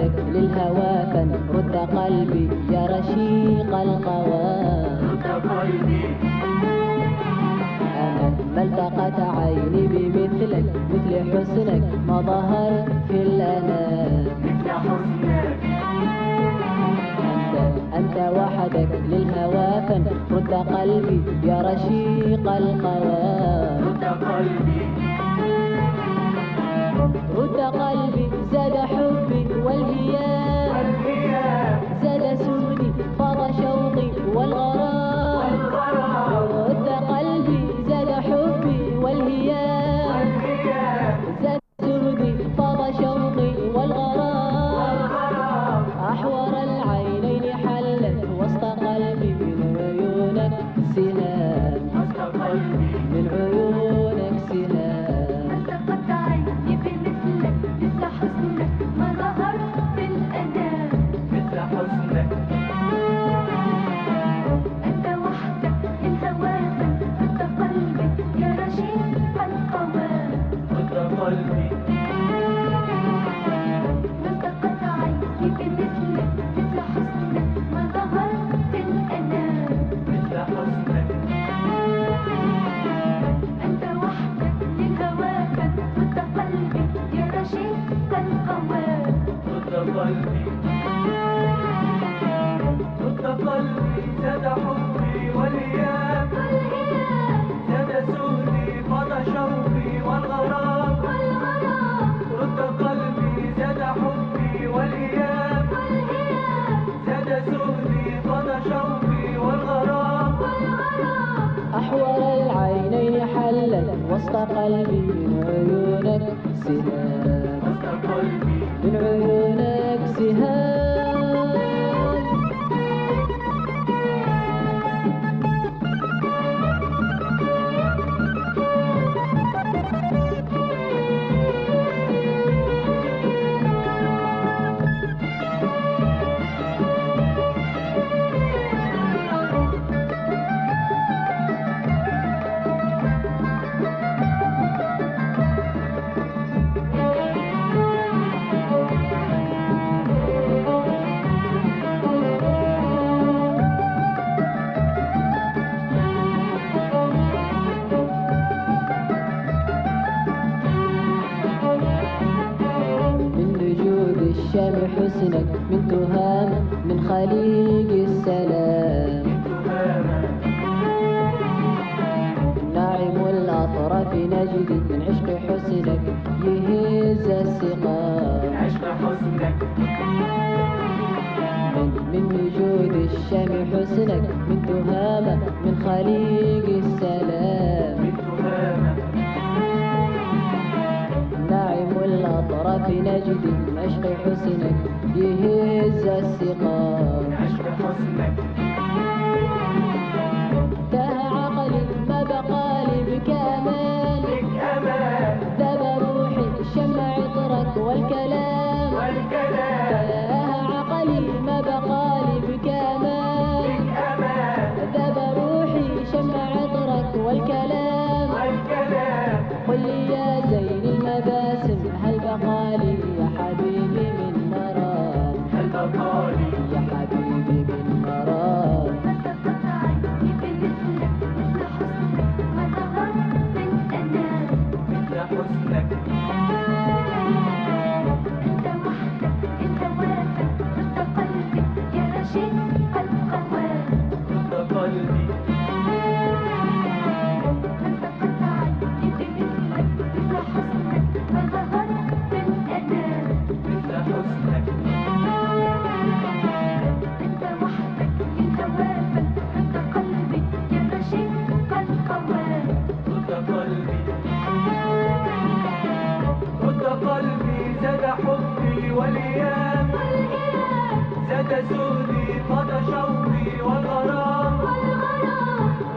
للهوى كان رد قلبي يا رشيق القوى أنا ما التقت عيني بمثلك مثل حسنك ما ظهر في الأنا أنت أنت وحدك للهوى كان رد قلبي يا رشيق القوى رد قلبي زاد حبي والهيام زاد سودي فاض شوقي والغرام رد قلبي زاد حبي والهيام زاد سودي فاض شوقي والغرام أحور العينين حلت وسط قلبي من عيونك سلام من عيونك سلام أحور العينين حلت وسط قلبي من عيونك سهام من عيونك سهام من وجود الشام حسنك من تهام من خليج السلام ناعم الأطراف نجد من عشق حسنك يهز السقام من, من وجود الشام حسنك من تهام من خليج السلام ناعم الأطراف نجد من عشق حسنك يهز السقام تاه عقلي ما بقى لي بك أمان ذاب روحي شم عطرك والكلام تاه عقلي ما بقى لي بك أمان ذاب روحي شم عطرك والكلام قل لي يا زين المباسم هل بقى لي يا حبيبي من مرام يا حبيبي من مرام والايام زاد سودي فضى شوقي والغرام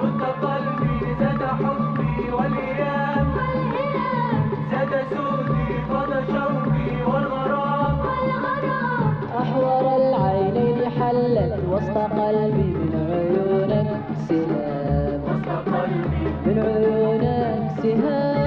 رد قلبي زاد حبي والايام زاد سودي فضى شوقي والغرام أحور العينين حلت وسط قلبي من عيونك سهام وسط قلبي من عيونك سهام Thank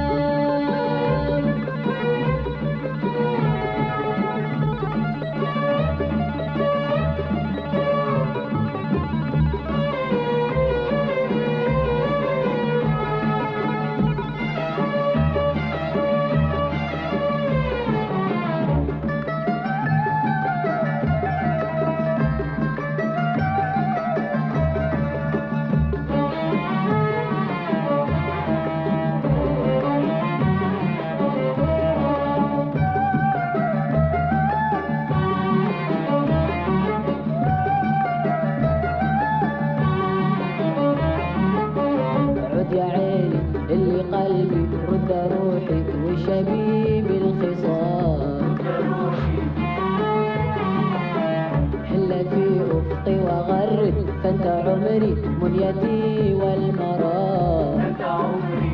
أنت عمري منيتي والمرار أنت عمري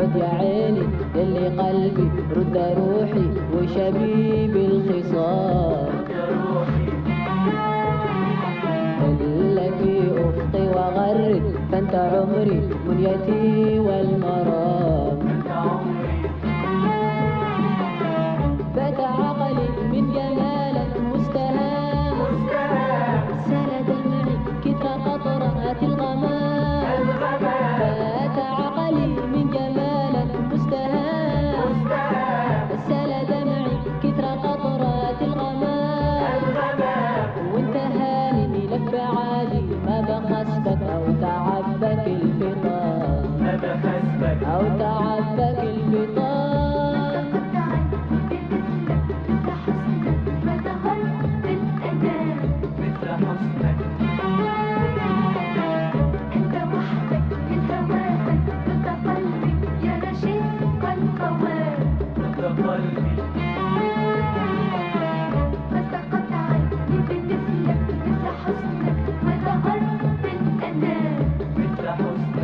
عد يا عيني للي قلبي رد روحي وشبيب الخصام أنت روحي إلا في أفقي وغرد فأنت عمري منيتي والمرام أنت عمري بات عقلي من جمالك مستهام مستهام سال دمعي كتر قطرات الغمام الغمام بات عقلي من جمالك مستهام مستهام سال دمعي كتر قطرات الغمام الغمام وانت هاني لف عادي ما بخسبك او تعبك الفطام ما بخسبك أو تعبك البطان مثل حسنك مثل قلبي مثل حسنك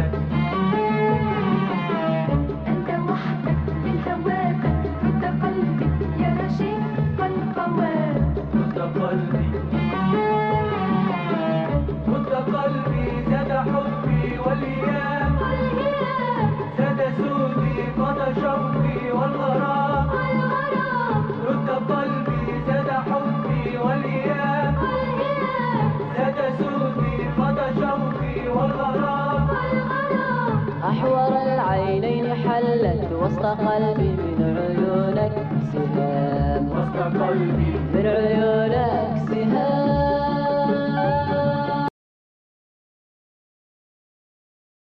كنت قلبي كنت قلبي زاد حبي والايام زاد سودي فضى شوقي والغرام رد قلبي زاد حبي والايام زاد سودي فضى شوقي والغرام أحور العينين حلت وسط قلبي من عيونك سهام وسط قلبي من